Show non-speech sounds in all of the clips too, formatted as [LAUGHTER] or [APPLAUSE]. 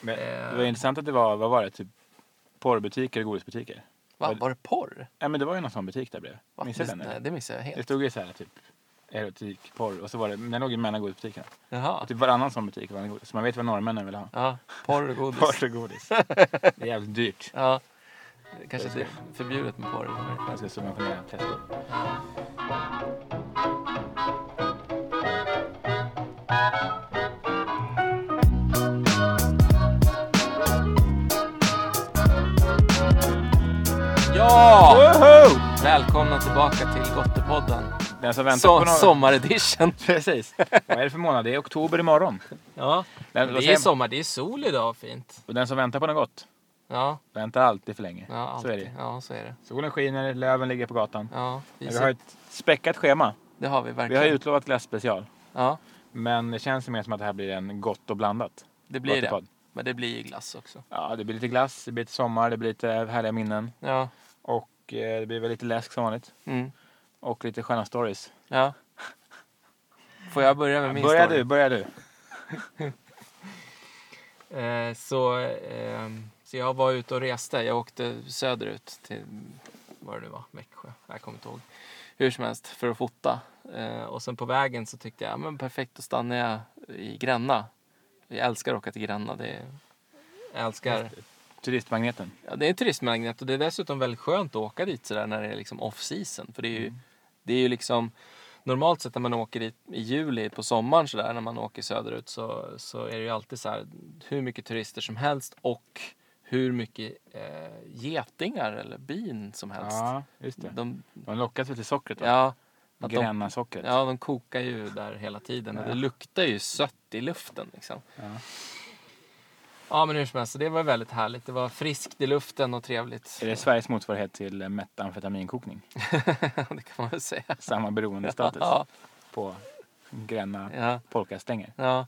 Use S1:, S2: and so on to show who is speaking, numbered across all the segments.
S1: Men det
S2: Eh.
S1: var intressant att det var, vad var det, typ porrbutiker och godisbutiker?
S2: Va, var det porr?
S1: Ja men det var ju någon sån butik där bredvid.
S2: Va?
S1: Missade
S2: Det-
S1: den
S2: Nej,
S1: eller?
S2: det missade jag
S1: Det
S2: helt.
S1: stod ju så här typ erotik, porr och så var det, den låg ju mellan godisbutikerna.
S2: Jaha.
S1: Och typ varannan sån butik var en godis. Så man vet vad norrmännen vill ha.
S2: Ja, porr och godis.
S1: Porr och
S2: [LAUGHS]
S1: godis. Det är jävligt dyrt.
S2: Ja. Det Kanske inte är förbjudet med porr. i Sverige.
S1: Man ska subventionera Tesla.
S2: Ja!
S1: Woho!
S2: Välkomna tillbaka till Gottepodden.
S1: Den som väntar
S2: Så,
S1: på någon...
S2: sommaredition.
S1: [LAUGHS] Precis. Vad är det för månad? Det är oktober imorgon.
S2: Ja.
S1: Men vad
S2: Det är
S1: säger-
S2: sommar, det är sol idag fint.
S1: Och den som väntar på något gott
S2: Ja,
S1: väntar alltid för länge.
S2: ja
S1: Så är
S2: alltid.
S1: det.
S2: Ja, så är det.
S1: Solen skiner, löven ligger på gatan.
S2: Ja,
S1: Men vi har
S2: vi
S1: ett späckat schema.
S2: det har vi
S1: Vi har
S2: verkligen.
S1: utlovat lässpecial.
S2: Ja,
S1: Men det känns ju mer som att det här blir en gott och blandat.
S2: det blir det.
S1: Gottepod.
S2: Men det blir ju glass också.
S1: Ja, det blir lite glass, det blir lite sommar, det blir lite härliga minnen.
S2: Ja.
S1: Och eh, det blir väl lite läsk som vanligt.
S2: Mm.
S1: Och lite sköna stories. [LAUGHS]
S2: ja. Får jag börja med min
S1: Börja
S2: story?
S1: du, börja du.
S2: Eh, så, ehm, så jag var ute och reste. Jag åkte söderut till vad det nu var, Växjö. Jag kommer inte ihåg. Hur som helst, för att fota. Eh, och sen på vägen så tyckte jag, "Ja, men perfekt, då stannar jag i Gränna. Jag älskar att åka till Gränna. Det är, jag älskar.
S1: Turistmagneten.
S2: Ja, det är en turistmagnet och det är dessutom väldigt skönt att åka dit sådär när det är liksom off-season. För det är ju,
S1: Mm.
S2: det är ju liksom Normalt sett när man åker dit i juli på sommaren sådär när man åker söderut så, så är det ju alltid så här hur mycket turister som helst och hur mycket eh, getingar eller bin som helst.
S1: Ja, just det.
S2: de,
S1: De lockas väl till sockret va?
S2: ja, att de,
S1: Grännasockret.
S2: ja, de kokar ju där hela tiden och det luktar ju sött i luften liksom.
S1: Ja.
S2: Ja men hur som helst, så det var väldigt härligt. Det var friskt i luften och trevligt.
S1: Är det Sveriges motsvarighet till eh,
S2: [LAUGHS]
S1: metamfetaminkokning?
S2: det kan man väl säga.
S1: Samma beroendestatus
S2: Ja,
S1: på Gränna
S2: ja,
S1: polkastänger.
S2: ja.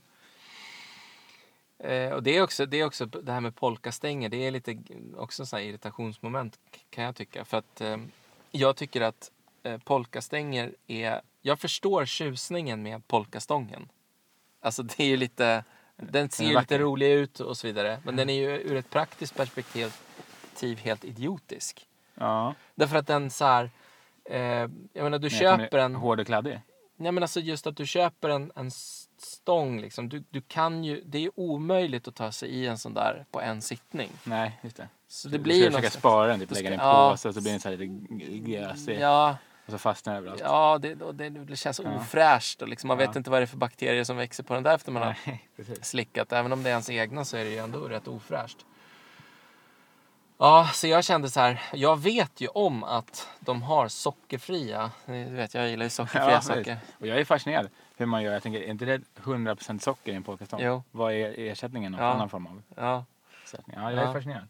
S2: Eh, och det är, också, det är också det här med polkastänger, det är lite g- också så här irritationsmoment k- kan jag tycka. För att eh, jag tycker att eh, polkastänger är, jag förstår tjusningen med polkastången. Alltså det är ju lite, den ser ju lite
S1: vacker. Mm.
S2: rolig ut och så vidare. Men den är ju ur ett praktiskt perspektiv helt idiotisk.
S1: Ja.
S2: Därför att den så här, eh, jag menar
S1: Men
S2: du
S1: jag
S2: köper
S1: kommer-
S2: en...
S1: Hård och kladdig.
S2: Nej men alltså just att du köper en, en s- stång liksom. Du, du kan ju, det är omöjligt att ta sig i en sån där på en sittning.
S1: Nej, just det.
S2: Så det
S1: Du
S2: blir
S1: ska
S2: ju
S1: försöka
S2: något...
S1: spara den, typ
S2: Du
S1: lägga
S2: ska-
S1: den i
S2: ja.
S1: en påse och så blir den så här lite g- gräsig.
S2: Ja,
S1: Och så fastnar den överallt.
S2: ja det, och det, det känns ofräscht och liksom, man vet
S1: Ja.
S2: inte vad det är för bakterier som växer på den där efter man har
S1: Nej, [LAUGHS] precis.
S2: slickat. Även om det är ens egna så är det ju ändå rätt ofräscht. Ja, så jag kände så här. Jag vet ju om att de har sockerfria. Du vet, jag gillar ju sockerfria
S1: Ja,
S2: saker.
S1: precis. och jag är fascinerad hur man gör. Jag tänker, är inte det 100% socker i en polkastång?
S2: Jo.
S1: Vad är ersättningen? Någon
S2: Ja.
S1: annan form av
S2: Ja,
S1: ersättning? Ja, jag är
S2: Ja.
S1: fascinerad.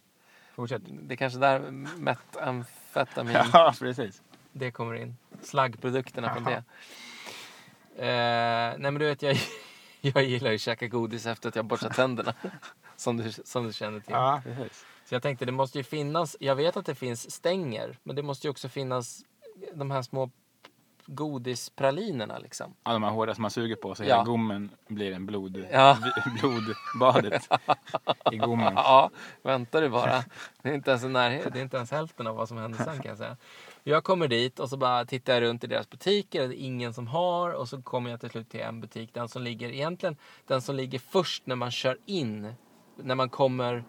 S1: Fortsätt.
S2: det är kanske där metamfetamin
S1: [LAUGHS] Ja, precis.
S2: det kommer in. Slaggprodukterna från det. Eh, nej men du vet jag, [LAUGHS] jag gillar ju att käka godis efter att jag borstat tänderna. [LAUGHS] Som du, som du känner till.
S1: Ja, precis.
S2: Så jag tänkte det måste ju finnas, jag vet att det finns stänger. Men det måste ju också finnas de här små godispralinerna liksom.
S1: Ja, de här hårda som man suger på så hela
S2: Ja.
S1: gommen blir en blod...
S2: Ja. [LAUGHS]
S1: Blodbadet i gommen.
S2: Ja, vänta du bara. Det är inte ens, i närhet, det är inte ens hälften av vad som hände sen kan jag säga. Jag kommer dit och så bara tittar jag runt i deras butiker. Det är ingen som har. Och så kommer jag till slut till en butik. Den som ligger egentligen, den som ligger först när man kör in. När man kommer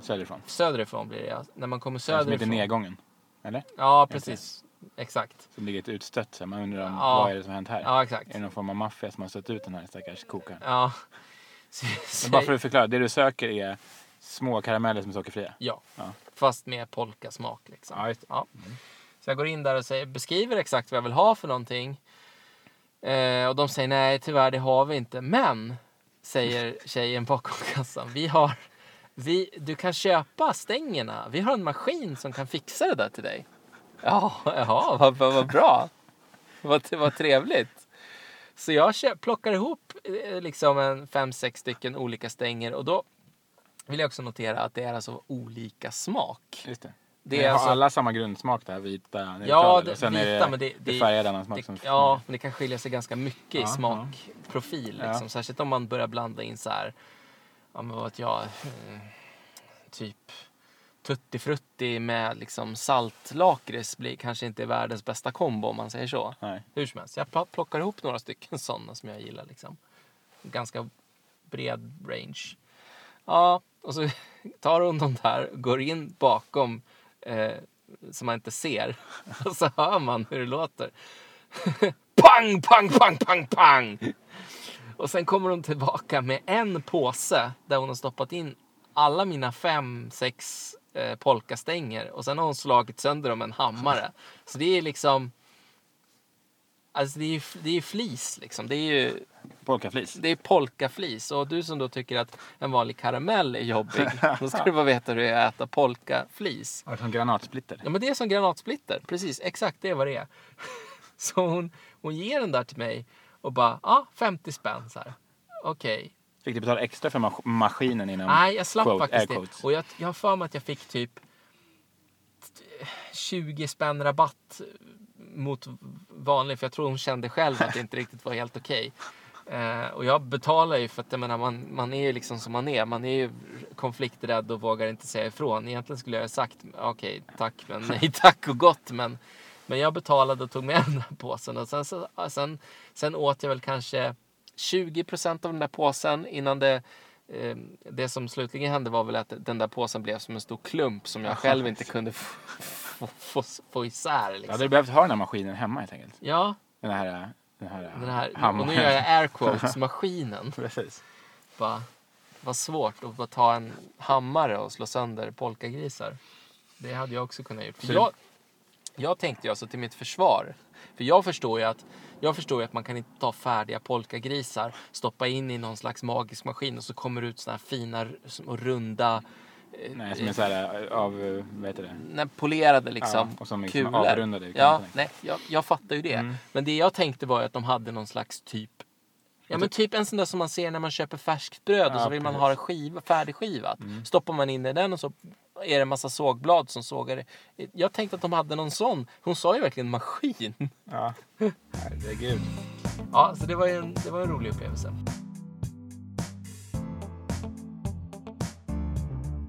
S1: Söderifrån.
S2: söderifrån blir det. ja. När man kommer
S1: Den som heter
S2: söderifrån.
S1: Nedgången. Eller?
S2: Ja, precis. Exakt.
S1: Som ligger ett utstött. Så man undrar om,
S2: Ja.
S1: vad är det som har hänt här?
S2: Ja, exakt.
S1: Är det någon form av maffia som har stött ut den här stackars kokaren?
S2: Ja. [LAUGHS] Så- så-
S1: Men bara för att förklara, det du söker är små karameller som är sockerfria.
S2: Ja,
S1: Ja.
S2: fast med polkasmak. Liksom.
S1: Ja, just det.
S2: Ja. Så jag går in där och säger, beskriver exakt vad jag vill ha för någonting. Eh, och de säger nej, tyvärr det har vi inte. Men, säger tjejen bakom kassan, vi har, vi, du kan köpa stängerna. Vi har en maskin som kan fixa det där till dig. Ja, jaha, vad, vad, vad bra. Vad, vad trevligt. Så jag kö- plockar ihop eh, liksom en fem, sex stycken olika stänger och då vill jag också notera att det är alltså olika smak.
S1: Just det.
S2: Det
S1: Det
S2: är alltså-
S1: har alla samma grundsmak där, vita,
S2: Ja,
S1: neutrala,
S2: det,
S1: och sen
S2: vita,
S1: är det,
S2: men det, det,
S1: färgade annan smak
S2: det,
S1: som
S2: Ja, men det kan skilja sig ganska
S1: Ja,
S2: mycket i smakprofil.
S1: ja.
S2: Liksom. Särskilt om man börjar blanda in så här ja men vad vet jag, eh, typ tuttifrutti med liksom saltlakrits blir kanske inte världens bästa kombo om man säger så.
S1: Nej.
S2: Hur som helst, jag pl- plockar ihop några stycken [LAUGHS] sådana som jag gillar liksom. Ganska bred range. Ja, och så [LAUGHS] tar hon de där, går in bakom eh, som man inte ser. [LAUGHS] Och så hör man hur det låter. [LAUGHS] pang, pang, pang, pang, pang! Och sen kommer hon tillbaka med en påse där hon har stoppat in alla mina fem, sex eh, polkastänger. Och sen har hon slagit sönder dem med en hammare. Så det är liksom... Alltså det är ju det är ju flis liksom. Det är ju
S1: Polkaflis.
S2: det är polkaflis. Och du som då tycker att en vanlig karamell
S1: [LAUGHS]
S2: är jobbig, då ska du bara veta hur det är att äta polkaflis.
S1: Ja, Som granatsplitter.
S2: Ja, men det är som granatsplitter. Precis, exakt det är vad det är. [LAUGHS] Så hon, hon ger den där till mig och bara, ja, ah, 50 spänn så här. Okej.
S1: Fick du betala extra för mas- maskinen innan?
S2: Nej, jag slapp
S1: quote, air
S2: faktiskt
S1: quotes.
S2: det. Och jag, jag har för mig att jag fick typ 20 spänn rabatt mot vanlig, för jag tror hon kände själv att det inte riktigt var helt okej. Eh, och jag betalar ju för att jag menar, man, man är ju liksom som man är. Man är ju konflikträdd och vågar inte säga ifrån. Egentligen skulle jag ha sagt okej, tack, men nej tack och gott. Men, men jag betalade och tog med den där påsen. Och sen, så, sen, sen åt jag väl kanske 20 procent av den där påsen innan det eh, det som slutligen hände var väl att den där påsen blev som en stor klump som jag själv inte kunde få, få, få, få isär.
S1: Jag hade
S2: Liksom.
S1: behövt ha den här maskinen hemma helt eligt.
S2: Ja,
S1: Den här, eh, den här, eh,
S2: den här, och
S1: hammaren.
S2: nu gör jag air quotes, maskinen.
S1: [LAUGHS] Precis.
S2: Bara, vad svårt att bara ta en hammare och slå sönder polkagrisar. Det hade jag också kunnat gjort. För
S1: Så-
S2: jag, jag tänkte ju alltså till mitt försvar. För jag förstår ju att, jag förstår ju att man kan inte ta färdiga polkagrisar, stoppa in i någon slags magisk maskin och så kommer det ut såna här fina och runda eh,
S1: Nej, som är så här eh, av, eh, vad heter det?
S2: Nej, polerade liksom,
S1: Ja, och som liksom
S2: kulor.
S1: avrundade i
S2: ja,
S1: kanterna.
S2: nej, jag, jag fattar ju det. Men det jag tänkte var ju att de hade någon slags typ Ja men typ en sån där som man ser när man köper färskt bröd och
S1: Ja,
S2: så vill man
S1: precis.
S2: ha det skiva, färdigskivat. Stoppar man in det i den och så är det en massa sågblad som sågar det. Jag tänkte att de hade någon sån. Hon sa ju verkligen maskin.
S1: Ja. Herregud.
S2: [LAUGHS] Ja, så det var ju en, det var en rolig upplevelse.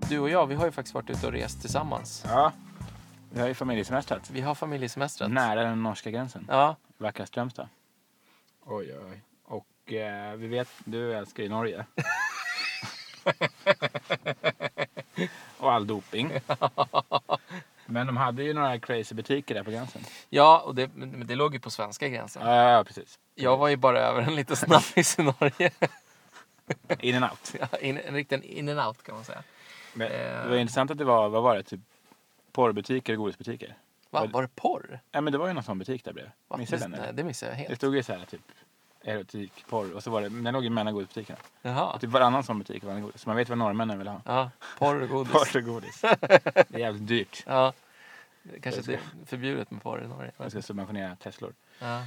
S2: Du och jag, vi har ju faktiskt varit ute och rest tillsammans.
S1: Ja. Vi har ju familjesemestrat.
S2: Vi har familjesemestrat.
S1: Nära den norska gränsen.
S2: Ja,
S1: Vackra Strömstad. Oj, oj, oj. Och eh, vi vet, du älskar ju Norge. [LAUGHS] och all [LAUGHS] doping. Men de hade ju några crazy butiker där på gränsen.
S2: Ja, och det, men men det låg ju på svenska gränsen.
S1: Ja, ja, ja, precis.
S2: Jag var ju bara över en liten snabbis i Norge.
S1: In and out.
S2: Ja, in, en riktig in and out kan man säga.
S1: Men
S2: Eh.
S1: det var intressant att det var, vad var det, typ porrbutiker och godisbutiker?
S2: Va,
S1: Var det-
S2: var det porr?
S1: Ja, men det var ju någon sån butik där bredvid.
S2: Va,
S1: Missade
S2: det,
S1: den
S2: nej,
S1: eller?
S2: det missade jag
S1: Det
S2: helt.
S1: stod ju så här typ erotik, porr och så var det, den låg ju mellan godisbutikerna.
S2: Jaha.
S1: Typ varannan sån butik var en godis. Så man vet vad norrmännen vill ha.
S2: Ja, porr och godis.
S1: Porr och godis. [LAUGHS] Det är jävligt dyrt.
S2: Ja. Det Kanske
S1: Jag
S2: det är förbjudet med porr i Norge.
S1: Jag ska subventionera Teslor.
S2: Ja.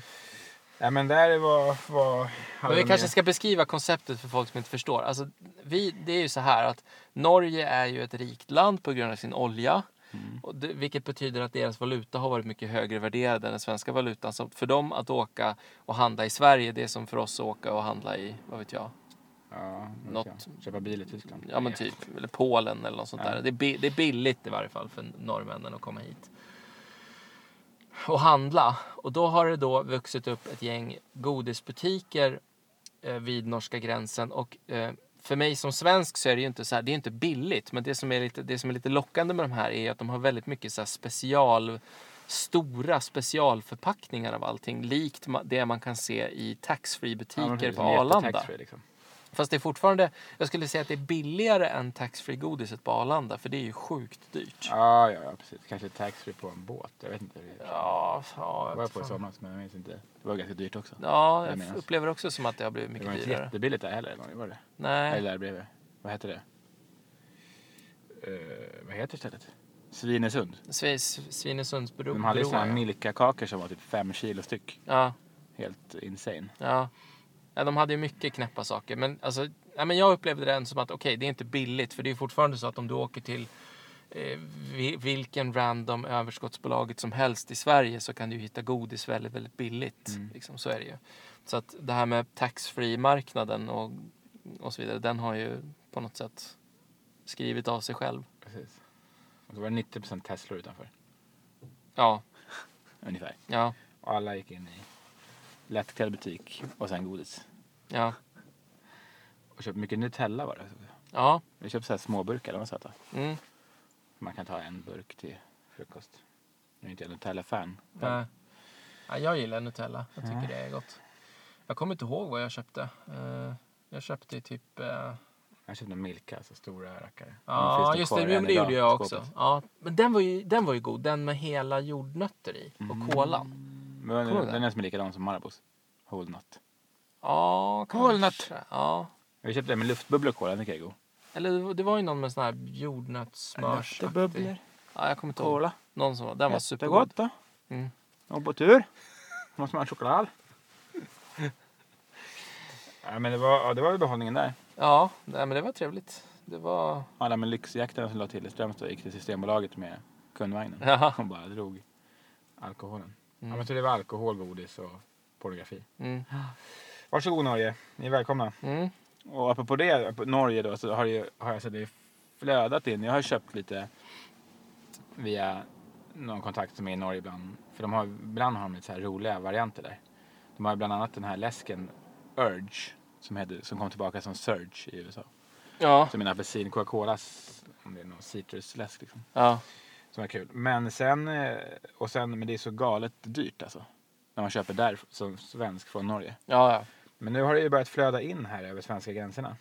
S1: Ja, men där var... var
S2: Men vi kanske ska beskriva konceptet för folk som inte förstår. Alltså, vi, det är ju så här att Norge är ju ett rikt land på grund av sin olja.
S1: Mm.
S2: Och det, vilket betyder att deras valuta har varit mycket högre värderad än den svenska valutan. Så för dem att åka och handla i Sverige, det är som för oss att åka och handla i, vad vet jag,
S1: Ja,
S2: Något-
S1: något... Köpa bil i Tyskland.
S2: ja men typ, eller Polen eller något sånt
S1: liksom. Ja.
S2: där. Det är, bi- det är billigt i varje fall för norrmännen att komma hit. Och handla. Och då har det då vuxit upp ett gäng godisbutiker eh, vid norska gränsen. Och eh, för mig som svensk så är det ju inte så här, det är ju inte billigt. Men det som är lite, det som är lite lockande med de här är att de har väldigt mycket så här special stora specialförpackningar av allting likt ma- det man kan se i
S1: Ja, men
S2: taxfree-butiker
S1: precis,
S2: på
S1: en jätte
S2: Arlanda.
S1: taxfree, Liksom.
S2: Fast det är fortfarande, jag skulle säga att det är billigare än taxfree-godiset på Arlanda för det är ju sjukt dyrt.
S1: Ja, ja, ja, precis. Kanske taxfree på en båt. Jag vet inte. hur Det
S2: Ja,
S1: jag
S2: ja,
S1: var på i somras, men jag minns inte. Det var ganska dyrt också.
S2: ja
S1: Jag
S2: jag
S1: menar.
S2: upplever också som att det har blivit
S1: det var
S2: mycket
S1: inte
S2: dyrare.
S1: jättebilligt där heller. Eller var det?
S2: Nej,
S1: Eller där bredvid. Vad heter det? Eh, vad heter stället? Svinesund.
S2: Svi- Svinesundsbro.
S1: De hade ju
S2: bro,
S1: såna här
S2: ja.
S1: milkakakor som var typ fem kilo styck.
S2: Ja,
S1: Helt insane.
S2: ja. ja, de hade ju mycket knäppa saker. Men, alltså, nej, men jag upplevde det ändå som att okej, det är inte billigt för det är ju fortfarande så att om du åker till eh, vi- vilken random överskottsbolaget som helst i Sverige så kan du ju hitta godis väldigt, väldigt billigt. Liksom, så är det ju. Så att det här med taxfree-marknaden och, och så vidare, den har ju på något sätt skrivit av sig själv.
S1: Precis. Och så var det 90 Teslor utanför.
S2: Ja,
S1: Ungefär.
S2: ja,
S1: Och alla gick in i lättklädd butik och sen godis.
S2: ja,
S1: Och köpte mycket Nutella var det.
S2: ja.
S1: Vi köpte så här småburkar, de var söta.
S2: Mm.
S1: Man kan ta en burk till frukost. Nu är inte jag Nutella-fan.
S2: Nej. Ja, jag gillar Nutella. Jag tycker det är gott. Jag kommer inte ihåg vad jag köpte. Eh, jag köpte typ... eh,
S1: Jag köpte en Milka, alltså stora rackare. De
S2: Ja,
S1: finns
S2: just
S1: kvar
S2: det.
S1: än
S2: men Det
S1: idag
S2: gjorde
S1: i
S2: jag
S1: skåpet.
S2: också. Ja, men den var, ju, den var ju god. Den med hela jordnötter i.
S1: Mm.
S2: Och kolan.
S1: Men
S2: Kommer du
S1: den,
S2: ihåg
S1: den är som är likadan som Marabous. Whole nut.
S2: Ja,
S1: Kolnöt.
S2: kanske. Ja.
S1: Jag köpte den med luftbubblor och kola, den tycker jag är god.
S2: Eller det var- det var ju någon med sån här jordnötssmörs... Ja, jag kommer inte ihåg. Någon som var. Den var supergod.
S1: då.
S2: Mm.
S1: Och på tur. Måste man ha choklad. ja, men det var, ja, det var väl behållningen där.
S2: Ja, nej, men det var trevligt. Det var... [LAUGHS]
S1: Alla med lyxjakterna som la till i Strömstad gick till Systembolaget med kundvagnen.
S2: Ja.
S1: Och bara drog alkoholen. Ja,
S2: Mm.
S1: men så det var alkohol, godis och pornografi.
S2: Mm.
S1: Varsågod Norge, ni är välkomna.
S2: Mm.
S1: Och apropå det, apropå Norge då, så har, det ju, har jag sett det flödat in. Jag har köpt lite via någon kontakt som är i Norge ibland. För de har, ibland har de lite så här roliga varianter där. De har bland annat den här läsken Urge som, heter, som kom tillbaka som Surge i USA.
S2: Ja.
S1: Som en apelsin, Coca-Colas, om det är någon citrusläsk liksom.
S2: Ja.
S1: Som var kul. Men sen, eh, och sen, men det är så galet dyrt alltså. När man köper där som svensk från Norge.
S2: Ja, ja.
S1: Men nu har det ju börjat flöda in här över svenska gränserna.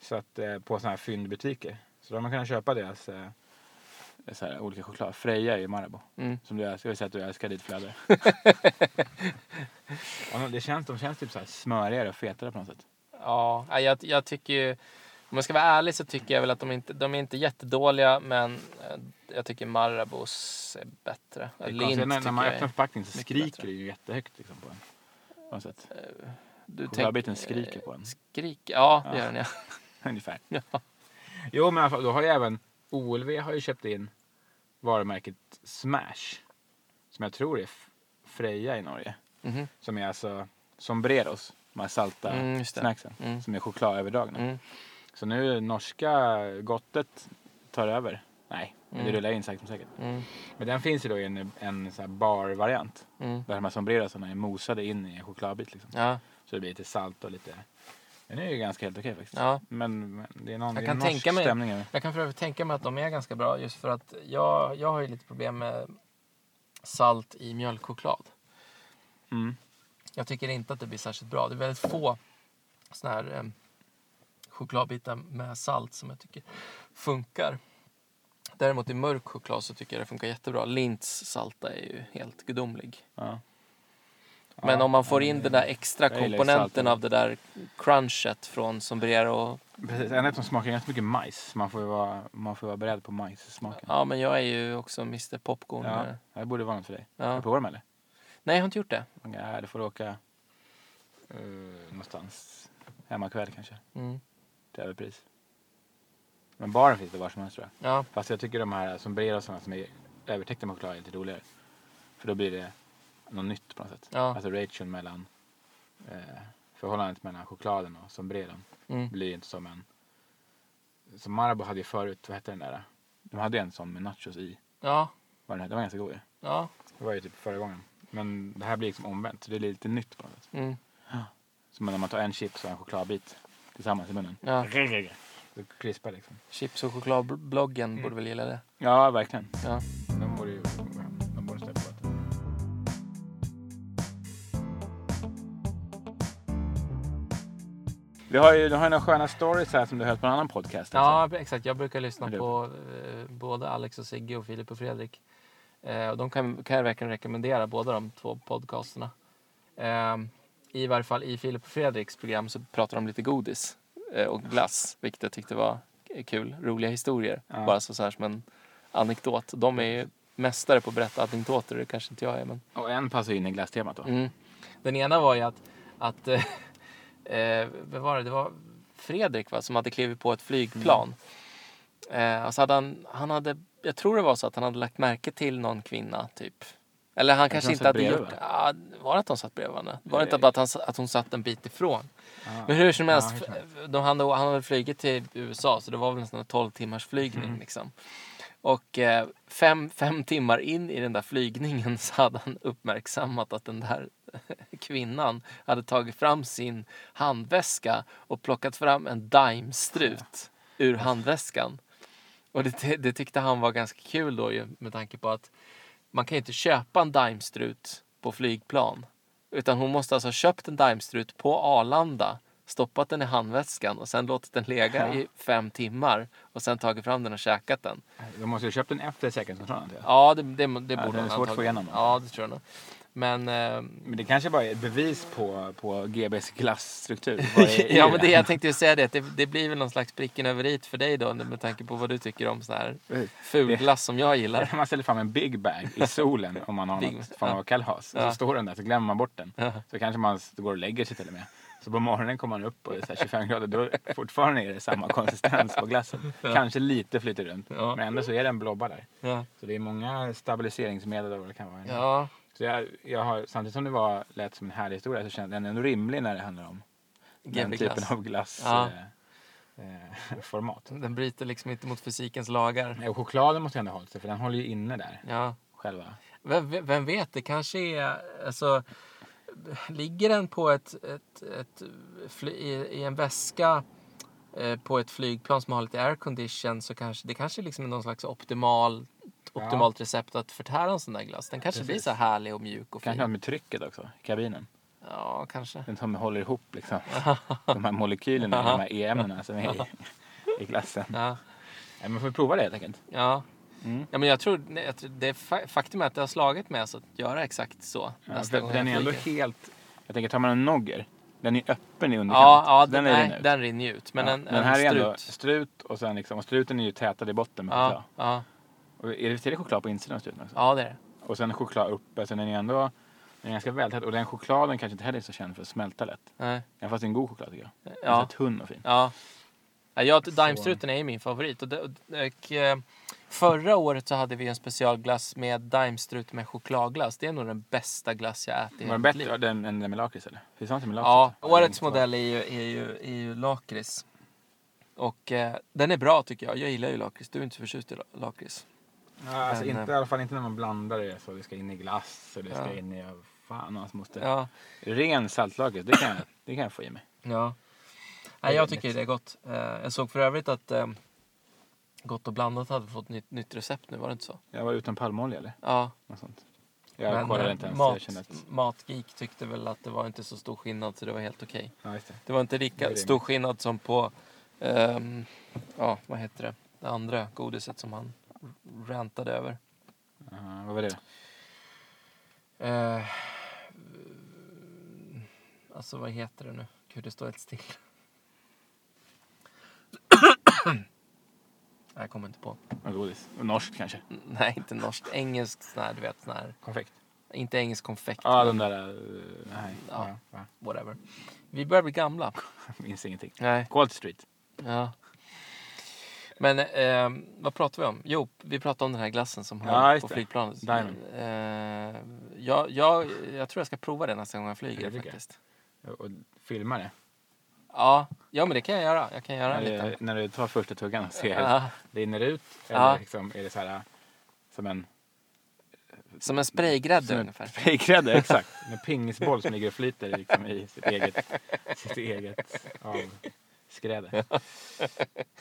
S1: Så att, eh, på sådana här fyndbutiker. Så då har man kunnat köpa deras eh, så här, olika choklad. Freja är ju Marabou.
S2: Mm.
S1: Som du älskar. Jag vill säga att du älskar ditt
S2: [LAUGHS]
S1: flöde. Ja, men det känns, de känns typ så här smörigare och fetare på något sätt.
S2: Ja, nej, jag, jag tycker ju... Om jag ska vara ärlig så tycker jag väl att de inte de är inte jättedåliga, men eh, jag tycker Marabous är bättre.
S1: Det är
S2: Lindt
S1: konstigt, när, när
S2: tycker
S1: man
S2: jag
S1: öppnar
S2: är...
S1: förpackningen så
S2: mycket
S1: skriker
S2: bättre. Eh,
S1: det ju jättehögt liksom, på en. På något sätt.
S2: Du
S1: Chokladbiten
S2: tänker-
S1: skriker på en.
S2: Skrik, ja det
S1: Ja.
S2: gör den ja.
S1: [LAUGHS] Ungefär.
S2: Ja.
S1: Jo men i alla fall, då har ju även OLV har ju köpt in varumärket Smash. Som jag tror är F- Freja i Norge.
S2: Mhm.
S1: Som är alltså sombreros, de här salta
S2: Mm, just det.
S1: snacksen.
S2: Mm.
S1: Som är chokladöverdragna.
S2: Mm.
S1: Så nu norska gottet tar över. Nej, men det
S2: Mm.
S1: rullar in sakta men säkert.
S2: Mm.
S1: Men den finns ju då i en, en sån här barvariant.
S2: Mm.
S1: Där de här sombrerosarna är mosade in i en chokladbit liksom.
S2: Ja,
S1: Så det blir lite salt och lite... Den är ju ganska helt okej faktiskt.
S2: ja.
S1: Men, men det är någon,
S2: Jag
S1: det är
S2: kan
S1: en norsk
S2: tänka mig-
S1: stämning över.
S2: Jag kan för övrigt tänka mig att de är ganska bra just för att jag, jag har ju lite problem med salt i mjölkchoklad.
S1: Mm.
S2: Jag tycker inte att det blir särskilt bra. Det är väldigt få såna här eh, chokladbitar med salt som jag tycker funkar. Däremot i mörk choklad så tycker jag det funkar jättebra. Lintz salta är ju helt gudomlig.
S1: Ja.
S2: Men
S1: Ja,
S2: om man får
S1: ja,
S2: in
S1: det-
S2: den där extra
S1: jag gillar ju
S2: komponenten
S1: salten.
S2: av det där crunchet från sombrero.
S1: Precis, en eftersom smakar ganska mycket majs. Man får ju vara, man får vara beredd på majssmaken.
S2: Ja, men jag är ju också Mr Popcorn.
S1: Ja,
S2: Ja.
S1: det borde vara något för dig.
S2: Ja.
S1: Har du provat dem eller?
S2: Nej, jag har inte gjort det.
S1: Ja, du får åka uh, någonstans hemmakväll kanske.
S2: Mm.
S1: Till överpris. Men baren finns det var som helst tror jag.
S2: Ja,
S1: Fast jag tycker de här sombrerosarna som är övertäckta med choklad är lite roligare. För då blir det något nytt på något sätt.
S2: Ja.
S1: Alltså ration mellan eh, förhållandet mellan chokladen och sombreron.
S2: mm.
S1: blir ju inte som en... Som Marabou hade ju förut, vad hette den där? De hade ju en sån med nachos i.
S2: ja,
S1: Vad den hette, den var ganska god ju.
S2: ja.
S1: Det var ju typ förra gången. Men det här blir liksom omvänt, så det är lite nytt på något sätt.
S2: Mm.
S1: Som när man tar en chips och en chokladbit tillsammans i munnen.
S2: ja.
S1: Det krispar liksom.
S2: Chips och chokladbloggen
S1: Mm.
S2: borde väl gilla det.
S1: Ja, verkligen.
S2: Ja.
S1: De borde ju... De borde släppa det. Vi har ju, du har ju några sköna stories här som du hört på en annan podcast. också.
S2: Ja, exakt. Jag brukar lyssna
S1: liksom. Eller-
S2: på eh, både Alex och Sigge och Filip och Fredrik. Eh, och de kan, kan jag verkligen rekommendera, båda de två podcasterna. Eh, I varje fall i Filip och Fredriks program så pratar de lite godis eh, och glass, vilket jag tyckte var kul. Roliga historier,
S1: Ja.
S2: bara så, så här som en anekdot. De är ju mästare på att berätta anekdoter, det kanske inte jag är. Men...
S1: Och en passar ju in i glasstemat då.
S2: Mm. Den ena var ju att, att [LAUGHS] eh, eh, vad var det? det var Fredrik va, som hade klivit på ett flygplan.
S1: Mm.
S2: Eh, och så hade han, han hade, jag tror det var så att han hade lagt märke till någon kvinna typ Eller han kanske
S1: de
S2: inte
S1: satt
S2: hade
S1: bredvid,
S2: gjort... Ja, var det att de satt bredvid varandra? Var det inte
S1: Nej.
S2: bara att, han, s- att hon satt en bit ifrån?
S1: Ja.
S2: Men hur som helst,
S1: Ja,
S2: f- de, han, han hade väl flugit till USA så det var väl en sån här 12 timmars flygning. Liksom. Och eh, fem, fem timmar in i den där flygningen så hade han uppmärksammat att den där [LAUGHS] kvinnan hade tagit fram sin handväska och plockat fram en daimstrut ur handväskan. Och det, ty- det tyckte han var ganska kul då ju med tanke på att man kan ju inte köpa en daimstrut på flygplan. Utan hon måste alltså ha köpt en daimstrut på Arlanda, stoppat den i handväskan och sen låtit den ligga i fem timmar och sen tagit fram den och käkat den.
S1: De måste ju ha köpt den efter säkerhetskontrollen. tror jag.
S2: Ja, det, det, det borde hon
S1: det är svårt att få
S2: antagligen-
S1: igenom.
S2: Ja, det tror jag nog. Men, eh,
S1: Men det kanske bara är ett bevis på, på GBs
S2: [LAUGHS]
S1: klassstruktur. Vad är [LAUGHS] i
S2: eh, ja, men det,
S1: den?
S2: jag tänkte ju säga det, att det, det blir väl någon slags pricken över i för dig då med tanke på vad du tycker om sån här
S1: Precis.
S2: ful glass som
S1: [LAUGHS]
S2: jag gillar.
S1: Man ställer fram en big bag i solen om man har
S2: Big-
S1: något form av kalas. Och
S2: Ja.
S1: så står den där så glömmer man bort den.
S2: Ja.
S1: Så kanske man s- går och lägger sig till och med. Så på morgonen kommer man upp och det är så här 25 grader. Då fortfarande är det samma konsistens på glassen. Kanske lite flyter runt.
S2: Ja.
S1: Men ändå så är den blobba där.
S2: Ja.
S1: Så det är många stabiliseringsmedel och vad det kan vara.
S2: Ja.
S1: Så jag, jag har, samtidigt som det var, lät som en härlig historia så känns den ändå rimlig när det handlar om den
S2: GB
S1: typen
S2: glass.
S1: av glass
S2: Ja.
S1: eh, eh, format.
S2: Den bryter liksom inte mot fysikens lagar.
S1: Nej, Och chokladen måste ju ändå ha hållit sig för den håller ju inne där.
S2: Ja.
S1: Själva.
S2: Vem, vem vet, det kanske är... Alltså, ligger den på ett, ett, ett, fly, i, i en väska eh, på ett flygplan som har lite aircondition så kanske det kanske liksom är någon slags optimal,
S1: Ja.
S2: optimalt recept att förtära en sån där glass. Den kanske blir
S1: Precis.
S2: så här härlig och mjuk och fin.
S1: Kanske något med trycket också, i kabinen.
S2: Ja, kanske.
S1: Den som håller ihop
S2: [LAUGHS]
S1: liksom, de här molekylerna, de här e-ämnena som är i, i glassen.
S2: Ja,
S1: Nej, men får vi prova det helt enkelt.
S2: ja.
S1: Mm.
S2: ja men jag tror, nej, jag tror det är fa- faktum är att det har slagit mig alltså att göra exakt så
S1: Ja,
S2: nästa
S1: för,
S2: gång
S1: för den är
S2: jag
S1: ändå
S2: flyger.
S1: helt... Jag tänker, tar man en nogger, den är öppen i underkant.
S2: Ja, ja
S1: så
S2: den,
S1: är
S2: nej,
S1: ut.
S2: den rinner ju ut. Men
S1: Ja,
S2: en,
S1: den
S2: en
S1: här
S2: strut.
S1: är ändå strut och, sen liksom, och struten är ju tätad i botten med choklad.
S2: ja, ja,
S1: Och är det, är det choklad på insidan av struten också?
S2: ja, det är det.
S1: Och sen choklad uppe, så den är ändå den är ganska vältät. Och den chokladen kanske inte heller är så känd för att smälta lätt.
S2: Nej.
S1: Även fast det är en god choklad tycker jag. Den är
S2: Ja,
S1: så tunn och fin.
S2: ja. ja jag, Daimstruten är ju min favorit. Och, det- och, och, eh, förra året så hade vi en specialglass med Daimstrut med chokladglass. Det är nog den bästa glass jag ätit i
S1: Var den
S2: mitt
S1: bättre
S2: liv.
S1: ja, den, än den med lakrits eller? Finns det inte med lakrits?
S2: Ja,
S1: också?
S2: årets
S1: Ja,
S2: modell är ju, är ju, är ju lakrits. Och eh, den är bra tycker jag. Jag gillar ju lakrits. Du är inte så förtjust i la- lakrits.
S1: Ja, alltså
S2: Men, eh,
S1: inte, I alla fall inte när man blandar det så. Det ska in i glass och det ska
S2: Ja.
S1: in i... ja, Fan alltså, hans moster.
S2: Ja.
S1: Ren saltlakrits, det, kan jag- det kan jag få i mig.
S2: Ja. Nej, jag
S1: Väldigt.
S2: tycker det är gott. Eh, Jag såg för övrigt att eh, Gott och blandat hade fått nytt, nytt recept nu, var det inte så?
S1: Jag var utan palmolja eller?
S2: Ja,
S1: Något sånt. Jag
S2: men,
S1: kollade
S2: eh,
S1: inte ens. Jag
S2: mat,
S1: kände att...
S2: Matgeek tyckte väl att det var inte så stor skillnad så det var helt okej.
S1: Ja, just det.
S2: Det var inte
S1: Det är
S2: lika
S1: rimligt.
S2: stor skillnad som på, ehm, ja vad heter det, det andra godiset som han rantade över.
S1: Ja, vad var det?
S2: Eh, alltså vad heter det nu? Gud, det står helt still. [COUGHS] Jag kommer inte på.
S1: Vad Godis? Norskt kanske?
S2: N- Nej, inte norskt. Engelskt sån här, du vet sån här.
S1: Konfekt?
S2: Inte engelsk konfekt.
S1: Ja,
S2: men
S1: de där... eh, Nej,
S2: Ja.
S1: ja. Ja, [LAUGHS]
S2: Whatever. Vi börjar bli gamla.
S1: minns ingenting.
S2: Nej.
S1: Gold Street.
S2: Ja. Men ehm, vad pratar vi om? Jo, vi pratar om den här glassen som
S1: Ja,
S2: höll
S1: just
S2: på
S1: det.
S2: flygplanet.
S1: Diamond.
S2: Eh, jag, jag, jag tror jag ska prova det nästa gång jag flyger
S1: Det tycker jag.
S2: faktiskt.
S1: Och filma det.
S2: Ja, ja, men det kan jag göra. Jag kan göra en
S1: När du,
S2: liten.
S1: när du tar första tuggan och ser hur
S2: Ja,
S1: det rinner ut. Eller
S2: Ja.
S1: liksom, är det så här... eh, Som en
S2: som en spraygrädde
S1: Som en
S2: ungefär.
S1: fejkgrädde, exakt. En pingisboll som ligger och flyter liksom, i sitt eget, sitt eget avskräde.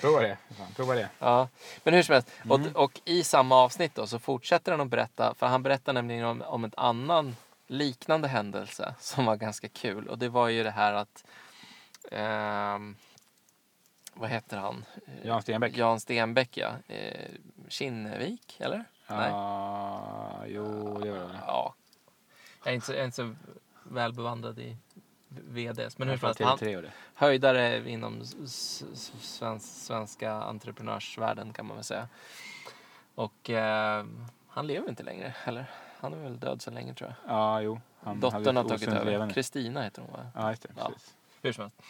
S1: Prova det. för Fan, prova det.
S2: Ja, men hur som helst.
S1: Mm.
S2: Och, och i samma avsnitt då, så fortsätter han att berätta, för han berättar nämligen om, om en annan liknande händelse som var ganska kul. Och det var ju det här att, ehm, vad heter han?
S1: Jan Stenbeck.
S2: Jan Stenbeck ja. Eh, Kinnevik, eller? Nej.
S1: Ah, jo, det var det.
S2: Ja. Jag är inte så, jag är inte så väl bevandrad i VDS. Men hur som
S1: Från
S2: helst, han,
S1: TV3 och det.
S2: höjdare inom s- s- svensk, svenska entreprenörsvärlden kan man väl säga. Och eh, han lever inte längre, eller? Han är väl död så länge tror jag.
S1: Ja, jo. Han
S2: Dottern
S1: hade
S2: har
S1: ett
S2: tagit
S1: osunt
S2: över.
S1: leverne.
S2: Kristina heter hon va?
S1: Ja, just det.
S2: Ja.
S1: Precis.
S2: Hur som helst.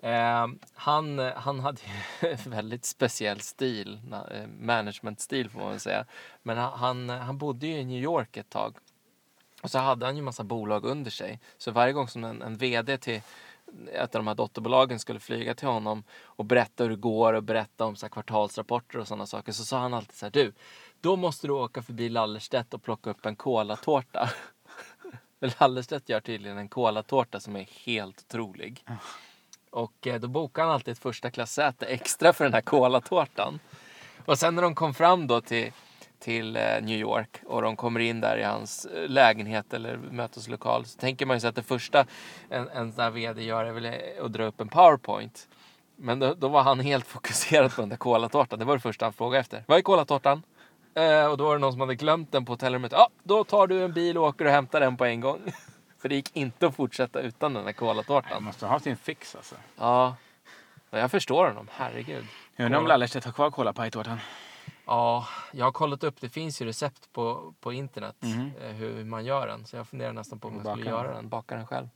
S2: Eh, han, han hade ju [LAUGHS] en väldigt speciell stil, na- eh, managementstil får man väl säga. Men han, han bodde ju i New York ett tag Och så hade han ju massa bolag under sig. Så varje gång som en, en vd till ett av de här dotterbolagen skulle flyga till honom och berätta hur det går och berätta om så här kvartalsrapporter och sådana saker så sa han alltid så här, du, då måste du åka förbi Lallerstedt och plocka upp en kolatårta. [LAUGHS] För Lallerstedt gör tydligen en kolatårta som är helt otrolig. Och eh, då bokade han alltid ett första klassäte extra för den här kolatårtan. Och sen när de kom fram då till, till eh, New York och de kommer in där i hans eh, lägenhet eller möteslokal så tänker man ju sig att det första en, en sån här vd gör är väl eh, att dra upp en powerpoint. Men då, då var han helt [LAUGHS] fokuserad på den där kolatårtan. Det var det första han frågade efter. Vad är kolatårtan? Eh, och då var det någon som hade glömt den på hotellrummet. Ja, då tar du en bil och åker och hämtar den på en gång. [LAUGHS] För det gick inte att fortsätta utan den där
S1: Han
S2: kolatårtan.
S1: måste ha sin fix alltså.
S2: Ja, men jag förstår honom. Herregud.
S1: Jag undrar om Lallerstedt har kvar kolapajtårtan.
S2: Ja, jag har kollat upp. Det finns ju recept på, på internet
S1: Mhm.
S2: eh, hur man gör den. Så jag funderar nästan på om
S1: Och
S2: jag skulle
S1: baka den.
S2: göra den. Baka den själv.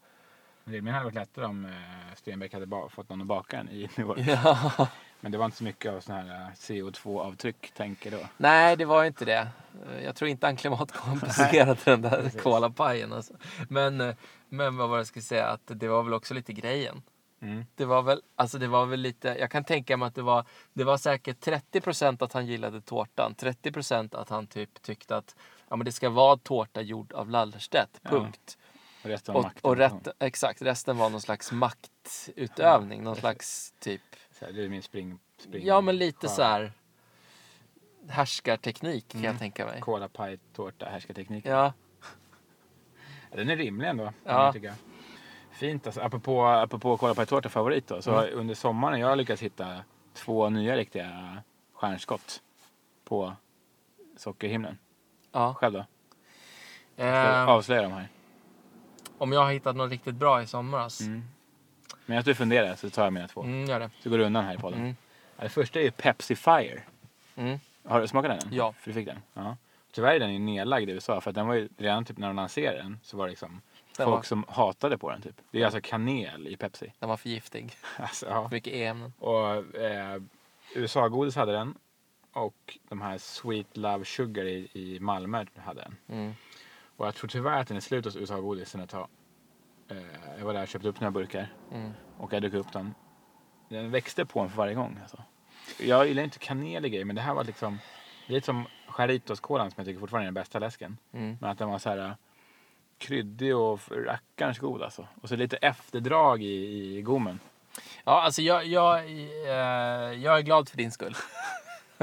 S1: Rimligen hade det varit lättare om eh, Stenbeck hade ba- fått någon att baka den i [LAUGHS] New York.
S2: [LAUGHS] Ja.
S1: Men det var inte så mycket av sådana här eh, CO2-avtryck, tänker då.
S2: Nej, det var ju inte det. Eh, Jag tror inte han klimatkompenserade den där
S1: precis.
S2: kolapajen. Alltså. Men, eh, men vad var det jag skulle säga? Att det var väl också lite grejen.
S1: Mm.
S2: Det var väl, alltså det var väl lite, jag kan tänka mig att det var, det var säkert 30% att han gillade tårtan. 30% att han typ tyckte att ja, men det ska vara tårta gjord av Lallerstedt.
S1: Ja.
S2: Punkt.
S1: Och resten av
S2: och
S1: makten. liksom.
S2: och rätt, exakt, resten var någon slags maktutövning. Någon slags typ,
S1: Så här, det är min spring... spring
S2: ja men lite så här härskarteknik kan jag
S1: Mm.
S2: tänka mig.
S1: Kolapajtårta, härskartekniken.
S2: Ja,
S1: Den är rimlig ändå. kan
S2: Ja.
S1: jag tycka. Fint alltså. Apropå, apropå kolapajtårta, favorit då. Så
S2: Mm.
S1: under sommaren jag har lyckats hitta två nya riktiga stjärnskott på sockerhimlen.
S2: ja.
S1: Själv då? Ska
S2: Eh,
S1: avslöja dem här.
S2: om jag har hittat något riktigt bra i somras. Mm,
S1: Mm. Men att du funderar så tar jag mina två.
S2: gör det.
S1: Så går du undan här i podden.
S2: Mm,
S1: Ja, det första är ju Pepsi Fire.
S2: mm.
S1: Har du smakat den? än?
S2: Ja.
S1: För du fick den? Ja. Tyvärr är den ju nedlagd i USA för att den var ju redan typ när de lanserade den så var det liksom
S2: Den
S1: folk
S2: var-
S1: som hatade på den typ. Det är alltså kanel i Pepsi. [LAUGHS]
S2: Den var för giftig.
S1: Alltså, ja.
S2: För mycket e-ämnen.
S1: Och eh, USA-godis hade den och de här Sweet Love Sugar i, i Malmö hade den.
S2: Mm.
S1: Och jag tror tyvärr att den är slut hos USA-godis sen ett tag. Eh, jag var där och köpte upp några burkar
S2: Mm.
S1: och jag dukade upp den. Den växte på en för varje gång. Alltså. Jag gillar inte kanel i grejer, men det här var liksom lite som Charitos-kolan som jag tycker fortfarande är den bästa läsken.
S2: Mm.
S1: Men att den var så här eh, kryddig och f- rackarns god alltså. Och så lite efterdrag i, i gommen.
S2: Ja, alltså jag, jag, eh, jag är glad för din skull. [LAUGHS]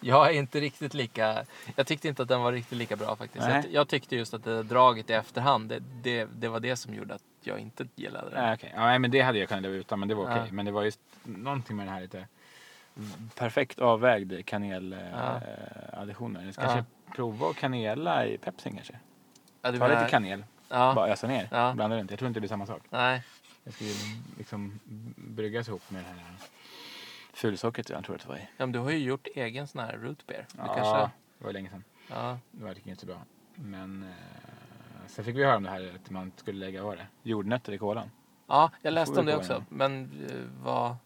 S2: jag är inte riktigt lika... Jag tyckte inte att den var riktigt lika bra faktiskt.
S1: Nej.
S2: Jag, jag tyckte just att det där draget i efterhand, det, det, det var det som gjorde att jag inte gillade den.
S1: Nej, okej. Ja, nej, men det hade jag kunnat leva utan, men det var okej.
S2: Ja.
S1: Men det var just någonting med den här lite perfekt avvägd äh,
S2: Ja.
S1: kaneladitioner. Ja. Kanske prova att kanela i pepsin kanske.
S2: Ja, du
S1: Ta
S2: menar-
S1: lite kanel,
S2: Ja,
S1: bara ösa ner,
S2: Ja.
S1: blanda runt. Jag tror inte det blir samma sak.
S2: nej.
S1: Det ska ju liksom bryggas ihop med det här fulsockret jag tror att det var i.
S2: Ja, men du har ju gjort egen sån här root beer. Du
S1: Ja,
S2: kanske...
S1: det var länge sedan.
S2: Ja.
S1: Det var inte så bra. Men eh, sen fick vi höra om det här att man skulle lägga, vad var det? Jordnötter i kolan.
S2: ja, jag
S1: får
S2: läste om
S1: vi
S2: det
S1: gå
S2: också.
S1: igenom.
S2: Men eh, vad...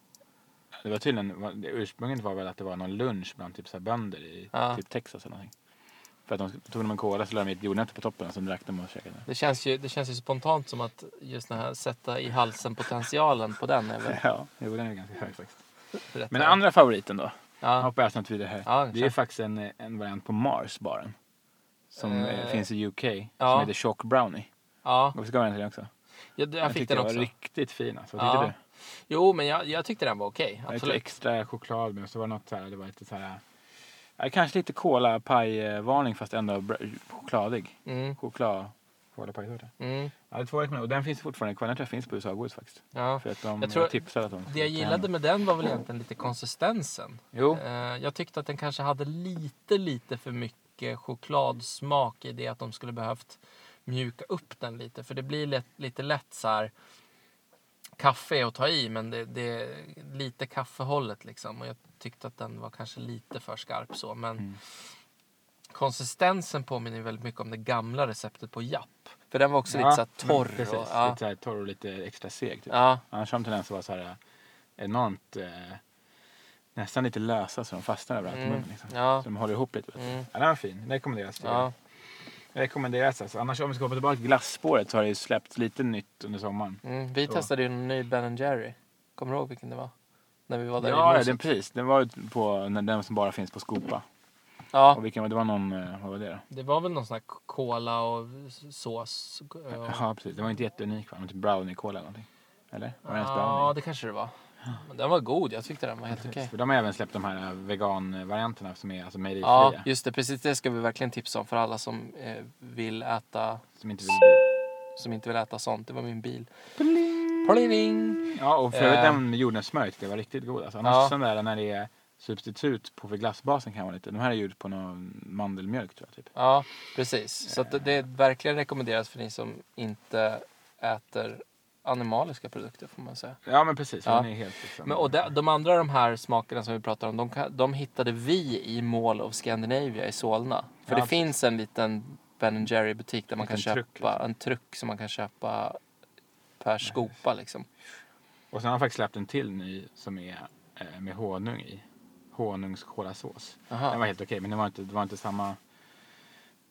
S1: Det var tydligen, var- det ursprunget var väl att det var någon lunch bland typ så här bönder i
S2: Ja.
S1: typ Texas eller någonting. För att de tog de en cola så la de i ett jordnötter på toppen och så drack de och käkade.
S2: Det känns, ju, det känns ju spontant som att just den här sätta i halsen potentialen på den är väl
S1: Ja, jo den är ganska hög faktiskt. [LAUGHS]
S2: rätt
S1: Men
S2: hög.
S1: andra favoriten då? Jag
S2: Ja.
S1: hoppar jag snabbt vidare här.
S2: Ja,
S1: det är
S2: kör.
S1: ju faktiskt en, eh, en variant på Mars baren. Som eh,
S2: Eh,
S1: finns i UK.
S2: ja.
S1: Som heter Chock Brownie.
S2: Ja,
S1: Och så gav jag den till dig också.
S2: jag, jag, fick
S1: tyckte
S2: den också.
S1: var riktigt fin alltså. Vad
S2: Ja,
S1: tyckte du?
S2: Jo, men jag, jag tyckte den var okej.
S1: Det var Lite
S2: absolut.
S1: extra choklad men så var det något så här, det var lite så här. ja, Kanske lite cola varning fast ändå br- chokladig.
S2: Mm,
S1: Choklad. Kolapajtårta.
S2: mm,
S1: Ja, det är två rekommendationer. Och den finns fortfarande kvar. Den tror jag finns på USA-godis faktiskt.
S2: ja.
S1: För att de
S2: Jag tror-
S1: jag tipsade att de
S2: Det jag
S1: ta hem
S2: gillade
S1: den.
S2: med den var väl egentligen lite konsistensen.
S1: Jo,
S2: Eh, Jag tyckte att den kanske hade lite, lite för mycket chokladsmak i det att de skulle behövt mjuka upp den lite. För det blir lätt, lite lätt så här kaffe att ta i men det, det är lite kaffehållet liksom. Och jag tyckte att den var kanske lite för skarp så. Men
S1: Mm.
S2: konsistensen påminner väldigt mycket om det gamla receptet på Japp. För den var också lite
S1: Ja,
S2: så här
S1: men
S2: torr.
S1: Precis,
S2: Och, ja,
S1: lite så här torr och lite extra seg. Typ.
S2: ja,
S1: Annars har de tendens att vara så här eh, enormt, eh, nästan lite lösa så de fastnar överallt i
S2: Mm,
S1: munnen. Liksom.
S2: ja.
S1: Så de håller ihop lite. vet du.
S2: Mm.
S1: Ja, den var fin, den rekommenderas.
S2: ja.
S1: tycker rekommenderas alltså. Annars om vi ska hoppa tillbaka till glasspåret så har det ju släppts lite nytt under sommaren.
S2: Mm, vi
S1: Så.
S2: testade ju en ny Ben Jerry. Kommer du ihåg vilken det var? När vi var där
S1: Ja,
S2: i
S1: ja
S2: huset.
S1: den, precis. Den var ju på när den som bara finns på Skopa.
S2: Ja,
S1: Och vilken var det? var någon, eh, vad var det då?
S2: det var väl någon sån här k- cola och sås. och-
S1: Ja, precis. Den var inte jätteunik va? Men Typ brownie-cola eller någonting. Eller? Var det ens
S2: Ja,
S1: brownie?
S2: det kanske det var. Men den var god. Jag tyckte den var helt okej.
S1: För de har även släppt de här eh, vegan-varianterna som är alltså mejerifria.
S2: Ja, just det. Precis det ska vi verkligen tipsa om för alla som eh, vill äta,
S1: Som inte vill bli...
S2: som inte vill äta sånt. Det var min bil. Pling!
S1: Ja, och för övrigt
S2: Eh.
S1: den med jordnötssmör tyckte jag var riktigt god. Alltså, annars
S2: Ja.
S1: sån där när det är substitut på för glassbasen kan vara lite. De här är gjord på någon mandelmjölk tror jag typ.
S2: Ja, precis. Så att
S1: Eh.
S2: det- det verkligen rekommenderas för ni som inte äter animaliska produkter får man säga.
S1: Ja men precis,
S2: Ja.
S1: den är helt liksom...
S2: Men, och de, de andra de här smakerna som vi pratar om, de, kan- de hittade vi i Mall of Scandinavia i Solna. För
S1: Ja,
S2: det
S1: precis.
S2: finns en liten Ben Jerry butik där man kan
S1: Liten
S2: köpa
S1: truck, liksom.
S2: en truck som man kan köpa per skopa liksom.
S1: och sen har de faktiskt släppt en till ny som är eh, med honung i. Honungskolasås.
S2: Aha.
S1: Den var helt okej men det var inte, det var inte samma,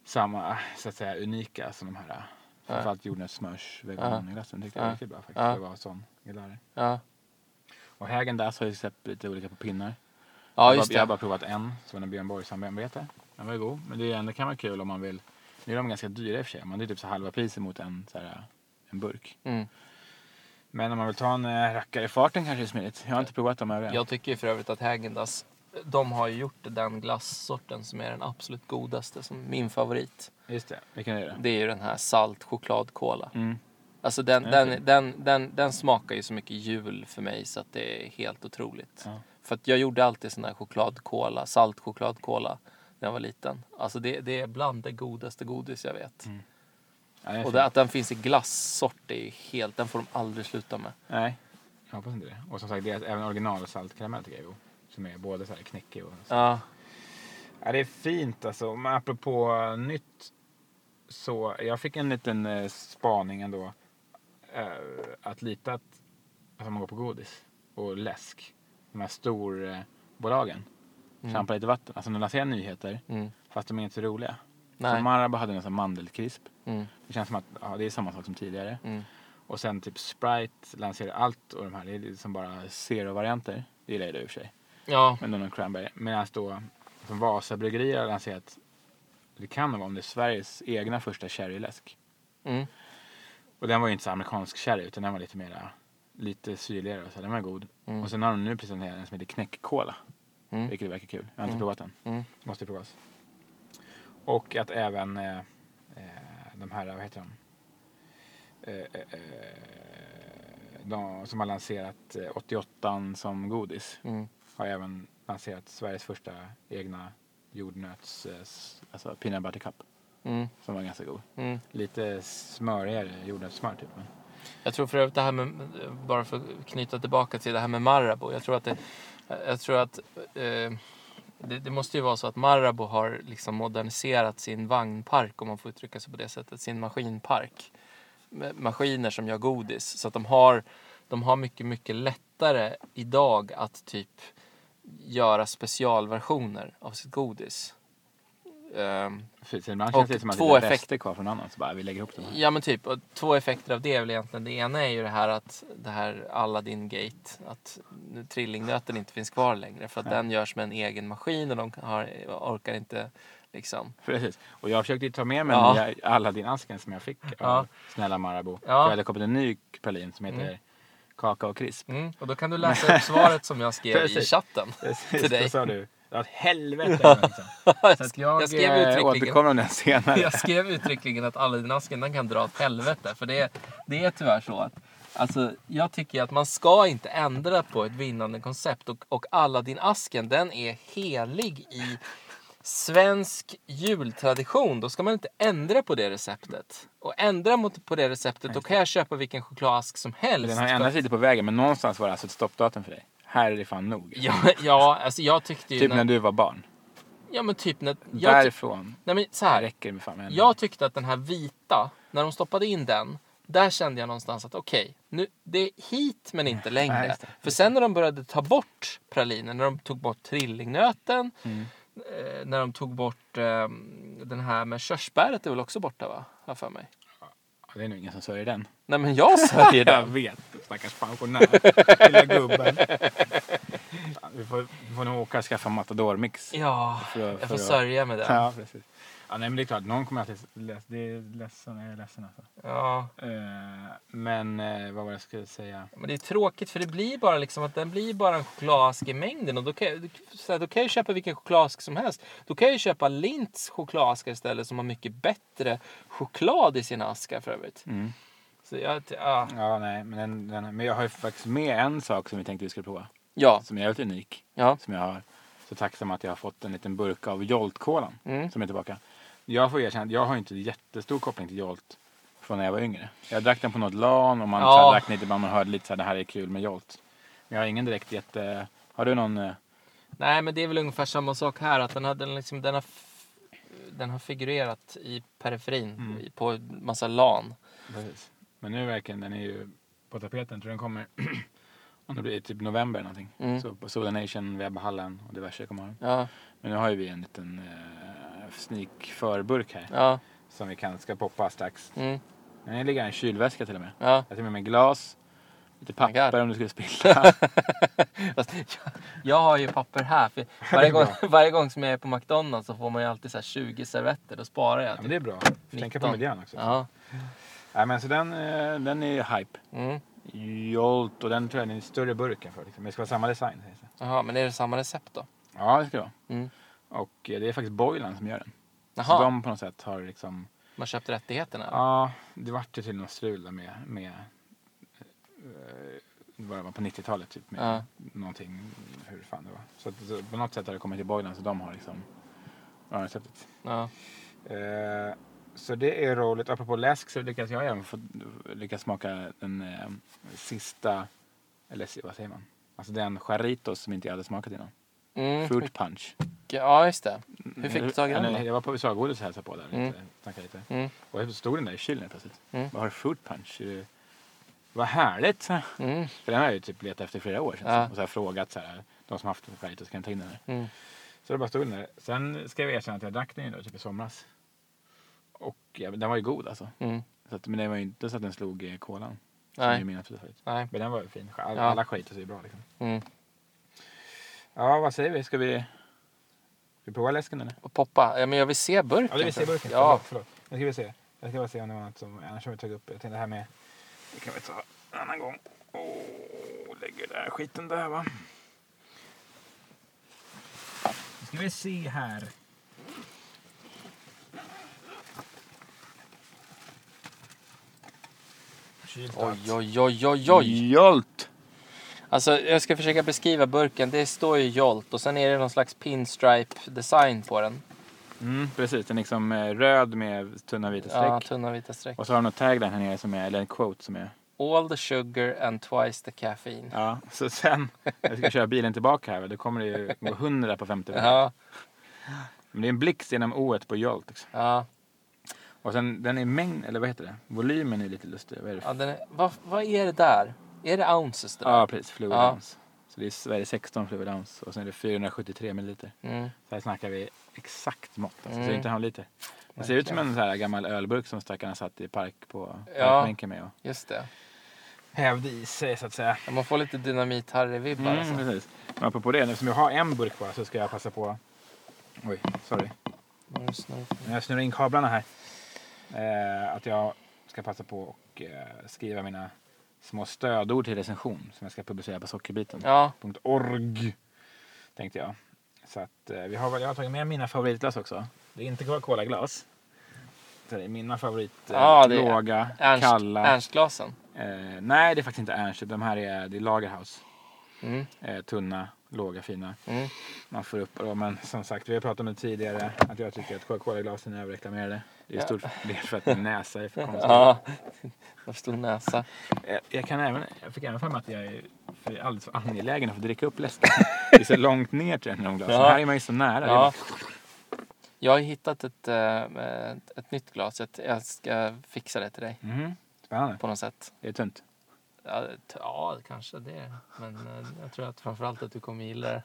S1: samma så att säga unika som de här. eh, Framförallt jordnötssmörs veganglassen tyckte jag var
S2: Ja.
S1: riktigt bra faktiskt.
S2: Ja.
S1: Det var sån. Jag gillar det.
S2: Ja,
S1: Och Hägen Dass har ju släppt lite olika på pinnar.
S2: ja
S1: jag,
S2: just
S1: har- jag har bara
S2: det.
S1: provat en, som var en Björn Borg samarbete. Den var ju god. Men det, är, det kan vara kul om man vill. Nu är de ganska dyra i och för sig. Man det är typ så halva priset mot en, så här, en burk.
S2: Mm.
S1: Men om man vill ta en eh, rackare i farten kanske det är smidigt. Jag har inte provat dem övriga.
S2: Jag tycker ju för övrigt att Häagen-Dazs, de har ju gjort den glassorten som är den absolut godaste, som min favorit.
S1: Just det, vilken är det?
S2: Det är ju den här salt chokladkola.
S1: Mm.
S2: Alltså den,
S1: Den är
S2: den,
S1: fin.
S2: den, den, den smakar ju så mycket jul för mig så att det är helt otroligt.
S1: Ja.
S2: För att jag gjorde alltid sån här chokladkola, salt chokladkola när jag var liten. Alltså det, det är bland det godaste godis jag vet.
S1: Ja, Mm, det är
S2: Och
S1: fint.
S2: det, att den finns i glassort, det är ju helt, den får de aldrig sluta med.
S1: Nej, jag hoppas inte det. Och som sagt, deras, även original saltkaramell tycker jag är god. Som är både så här knäckig och...
S2: Ja,
S1: Ja, det är fint alltså. Men apropå nytt så jag fick en liten eh, spaning ändå. Eh, att lite att alltså, man går på godis och läsk. De här storbolagen.
S2: Mm.
S1: Trampar lite vatten. Alltså de lanserar nyheter
S2: mm.
S1: fast de är inte så roliga.
S2: nej.
S1: Som Marabou hade en sån här mandelkrisp.
S2: Mm.
S1: Det känns som att ja, det är samma sak som tidigare.
S2: Mm.
S1: Och sen typ Sprite lanserar allt och de här. Det är liksom bara zero-varianter. Det gillar jag i och för sig.
S2: Ja,
S1: Men då någon cranberry. Medan då som Vasa bryggerier har lanserat, det kan nog vara om det är Sveriges egna första sherryläsk.
S2: mm.
S1: Och den var ju inte så amerikansk sherry utan den var lite mera, lite syrligare och så, den var god.
S2: Mm.
S1: Och sen har de nu presenterat en som heter knäckkola,
S2: Mm.
S1: vilket verkar kul. Jag har inte
S2: Mm.
S1: provat den,
S2: Mm.
S1: måste provas. Och att även eh, eh, de här, vad heter de? Eh, eh, eh, de som har lanserat eh, 88 som godis
S2: Mm.
S1: har även lanserat Sveriges första egna jordnöts, eh, s- alltså peanut butter cup,
S2: Mm.
S1: som var ganska god.
S2: Mm.
S1: Lite smörigare jordnötssmör typ. Men.
S2: Jag tror för övrigt det här med, bara för att knyta tillbaka till det här med Marabou. Jag tror att det, jag tror att, eh, det, det måste ju vara så att Marabou har liksom moderniserat sin vagnpark, om man får uttrycka sig på det sättet, sin maskinpark. Med maskiner som gör godis. Så att de har, de har mycket, mycket lättare idag att typ göra specialversioner av sitt godis. Ehm,
S1: Precis, ibland
S2: Och
S1: känns det som att det
S2: två
S1: är rester
S2: effekter.
S1: kvar från annan, så bara vi lägger ihop dem här.
S2: Ja men typ, och två effekter av det är väl egentligen. Det ena är ju det här att det här Aladdin-gate, att nu trillingnöten inte finns kvar längre för att den görs med en egen maskin och de kan- har, orkar inte liksom.
S1: Precis. Och jag försökte ju ta med mig
S2: Ja.
S1: ja. Aladdin-asken som jag fick
S2: Ja.
S1: av snälla Marabou. För
S2: Ja.
S1: jag hade kommit en ny pralin som heter
S2: Mm.
S1: Kaka och krisp.
S2: Mm. Och då kan du läsa [LAUGHS] upp svaret som jag skrev i
S1: Precis.
S2: chatten.
S1: Precis,
S2: Till dig.
S1: Då sa du, ja åt helvete. liksom. Så att jag,
S2: [LAUGHS] Jag skrev
S1: eh,
S2: uttryckligen.
S1: återkommer om den senare.
S2: Jag skrev uttryckligen att Aladdin-asken den kan dra åt helvete för det, det är tyvärr så att Alltså, jag tycker att man ska inte ändra på ett vinnande koncept och, och Aladdin-asken den är helig i svensk jultradition, då ska man inte ändra på det receptet. Och ändra mot, på det receptet, då kan jag köpa vilken chokladask som helst.
S1: Den har
S2: för-
S1: ändrats lite på vägen, men någonstans var det alltså ett stoppdatum för dig. Här är det fan nog.
S2: ja, ja, alltså jag tyckte ju...
S1: Typ
S2: när,
S1: när du var barn.
S2: Ja, men typ när... Jag, tyck-
S1: Därifrån
S2: nej, men så här.
S1: räcker det med fan med en.
S2: Jag tyckte att den här vita, när de stoppade in den, där kände jag någonstans att okej, nu, det är hit men inte längre.
S1: Nej, just det.
S2: För sen när de började ta bort
S1: Mm.
S2: pralinen, när de tog bort trillingnöten, eh, när de tog bort eh, den här med körsbäret är väl också borta va? Har jag för mig.
S1: Ja, Det är nog ingen som sörjer den. [LAUGHS]
S2: Nej men jag sörjer
S1: Jag
S2: den.
S1: vet, stackars pensionär. Lilla gubben. Fan, [LAUGHS] Vi får, vi får nog åka och skaffa matador-mix.
S2: Ja,
S1: För att-
S2: jag
S1: för
S2: får
S1: att-
S2: sörja med den.
S1: Ja, precis. Ja, nej, men det är klart, någon kommer alltid... Läs, det är ledsen, jag är ledsen alltså.
S2: Ja.
S1: Eh, men eh, vad var det jag skulle säga?
S2: Men det är tråkigt för det blir bara liksom att den blir bara en chokladask i mängden. Och då kan, jag, så här, då kan jag ju köpa vilken chokladask som helst. Då kan jag ju köpa Lints chokladaskar istället som har mycket bättre choklad i sina askar för övrigt.
S1: Mm.
S2: Så jag, ja.
S1: Ja, nej, men, den, den, men jag har ju faktiskt med en sak som vi tänkte vi skulle prova.
S2: Ja.
S1: Som är helt unik.
S2: ja.
S1: Som jag har så tacksam att jag har fått en liten burk av Jolt-kolan
S2: Mm.
S1: som är tillbaka. Jag får erkänna att jag har inte jättestor koppling till Jolt från när jag var yngre. Jag drack den på något LAN och man
S2: Ja.
S1: så här, drack den lite ibland man hörde lite så här, det här är kul med Jolt. Men jag har ingen direkt jätte... Har du någon... eh,
S2: Nej, men det är väl ungefär samma sak här. Att den, har, den, liksom, den, har, f- den har figurerat i periferin
S1: Mm.
S2: i- på en massa LAN.
S1: Precis. Men nu verkligen, den är ju på tapeten. Tror den kommer [CLEARS THROAT] om det blir typ november eller någonting.
S2: Mm.
S1: Så på Soda Nation, Webhallen och diverse kommer ha den.
S2: Ja,
S1: Men nu har ju vi en liten eh, sneak förburk här
S2: ja,
S1: som vi kan ska poppa strax.
S2: mm,
S1: Den ligger i en kylväska till och med.
S2: ja.
S1: Jag tar med mig glas, lite
S2: my God.
S1: papper om du skulle [LAUGHS] spilla.
S2: Fast jag, jag har ju papper här. För varje, gång, varje gång som jag är på McDonalds så får man ju alltid så här 20 servetter. Då sparar jag.
S1: ja, men
S2: Typ.
S1: det är bra. Tänka på
S2: 19.
S1: miljön också.
S2: Ja,
S1: Nej, men så den, eh, den är ju hype.
S2: mm.
S1: Jolt och den tror jag är en större burk än förr. Liksom. Men det ska vara samma design. sägs det.
S2: Jaha, men är det samma recept då?
S1: Ja, det ska det vara.
S2: Mm.
S1: Och eh, det är faktiskt Boylan som gör den. Så
S2: Jaha,
S1: de på något sätt har liksom
S2: man köpte rättigheterna? eller?
S1: Ja, det vart ju till något strul där med, med eh, vad det var på 90-talet typ med
S2: Ja.
S1: någonting, hur fan det var. Så, att, så på något sätt har det kommit till Boylan så de har liksom ja, receptet.
S2: Ja.
S1: Eh, så det är roligt. Apropå läsk så lyckas jag även få lyckas smaka den eh, sista, eller si- vad säger man? Alltså den Charitos som inte jag hade smakat innan.
S2: Mm.
S1: Fruit punch.
S2: ja, just det. Hur fick du tag i
S1: Ja,
S2: den
S1: nej,
S2: då?
S1: Jag var på USA-godis och hälsade på där.
S2: Mm.
S1: Lite, snackade lite.
S2: Mm.
S1: Och så stod den där i kylen helt plötsligt.
S2: Mm.
S1: Vad har du fruit punch? Är det- Vad härligt! sa jag.
S2: Mm.
S1: För den har jag ju typ letat efter i flera år. känns det
S2: Ja.
S1: som. Och så har jag frågat så här, de som haft den färdigt och så kan jag ta in den här.
S2: Mm.
S1: Så det bara stod den där. Sen ska jag erkänna att jag drack den ju då, typ i somras. Och ja, men den var ju god alltså.
S2: Mm.
S1: Så att, men det var ju inte så att den slog eh, kolan. Som är
S2: Nej.
S1: min absoluta favorit.
S2: Nej.
S1: Men den var ju fin. Alla,
S2: Ja.
S1: alla skiter sig bra liksom.
S2: Mm.
S1: Ja, vad säger vi? Ska vi, ska vi prova läsken eller?
S2: Och poppa. Ja, men jag vill se burken.
S1: Ja, det vill se burken.
S2: Ja.
S1: Förlåt, förlåt. Nu ska vi se. Jag ska bara se om det var något som... Annars har vi tagit upp. Jag tänkte det här med... Det kan vi ta en annan gång. Åh, lägger den här skiten där va. Nu ska vi se här. Kylt
S2: Oj, oj, oj, oj, oj.
S1: Mm. Jolt!
S2: Alltså, jag ska försöka beskriva burken. Det står ju Jolt och sen är det någon slags pinstripe-design på den.
S1: Mm, precis, den är liksom eh, röd med tunna vita streck.
S2: Ja, tunna vita streck.
S1: Och så har de något tagline här nere som är, eller en quote som är
S2: All the sugar and twice the caffeine.
S1: Ja, så sen när jag ska köra bilen tillbaka här, då kommer det ju gå 100 på 50
S2: Ja,
S1: Men det är en blixt genom o på Jolt. Liksom.
S2: ja.
S1: Och sen den är mängd, eller vad heter det? Volymen är lite lustig. Vad är det?
S2: ja
S1: för-
S2: den är, vad, vad är det där? Är det ounces? Det där?
S1: Ja, precis. Fluid
S2: Ja.
S1: ounce. Så det är Sverige 16 fluid ounce och sen är det 473 milliliter.
S2: Mm.
S1: Så här snackar vi exakt mått. Alltså. Så det
S2: Mm.
S1: är inte handliter. Det ser ut som en så här gammal ölburk som stackarna satt i park på
S2: Ja.
S1: parkbänken med och
S2: Just det.
S1: hävde i sig så att säga.
S2: Ja, Man får lite dynamit-Harry-vibbar.
S1: Mm,
S2: Alltså.
S1: precis. Men apropå det, eftersom jag har en burk bara så ska jag passa på. Oj, sorry.
S2: Mm, Nu snurrar det.
S1: När jag snurrar in kablarna här. Eh, att jag ska passa på och eh, skriva mina små stödord till recension som jag ska publicera på sockerbiten.
S2: Ja,
S1: .org tänkte jag. Så att eh, vi har, väl- jag har tagit med mina favoritglas också. Det är inte Coca-Cola-glas. Så Det är mina favorit eh,
S2: Ja, det är
S1: låga,
S2: Ernst,
S1: kalla.
S2: Ernstglasen.
S1: Eh, nej, det är faktiskt inte Ernst. De här är, det är Lagerhaus.
S2: Mm.
S1: Eh, tunna, låga, fina.
S2: Mm.
S1: Man får upp dem. Men som sagt, vi har pratat om det tidigare. Att jag tycker att Coca-Cola-glasen är överreklamerade. Det är i
S2: Ja.
S1: stort del för att min näsa är för konstig.
S2: [LAUGHS] Ja, jag stor näsa.
S1: Eh, Jag, kan även, jag fick även fram att jag är för alldeles för angelägen att få dricka upp
S2: [LAUGHS]
S1: läsken. Det är så långt ner till den här glasen.
S2: Ja.
S1: Här är man ju så nära. Det är
S2: Ja.
S1: bara-
S2: Jag har hittat ett, eh, ett, ett nytt glas. Jag, jag ska fixa det till dig
S1: Mhm. Spännande.
S2: på något sätt.
S1: Det är tunt.
S2: Ja, t- ja kanske det. Men eh, jag tror att framförallt att du kommer gilla det.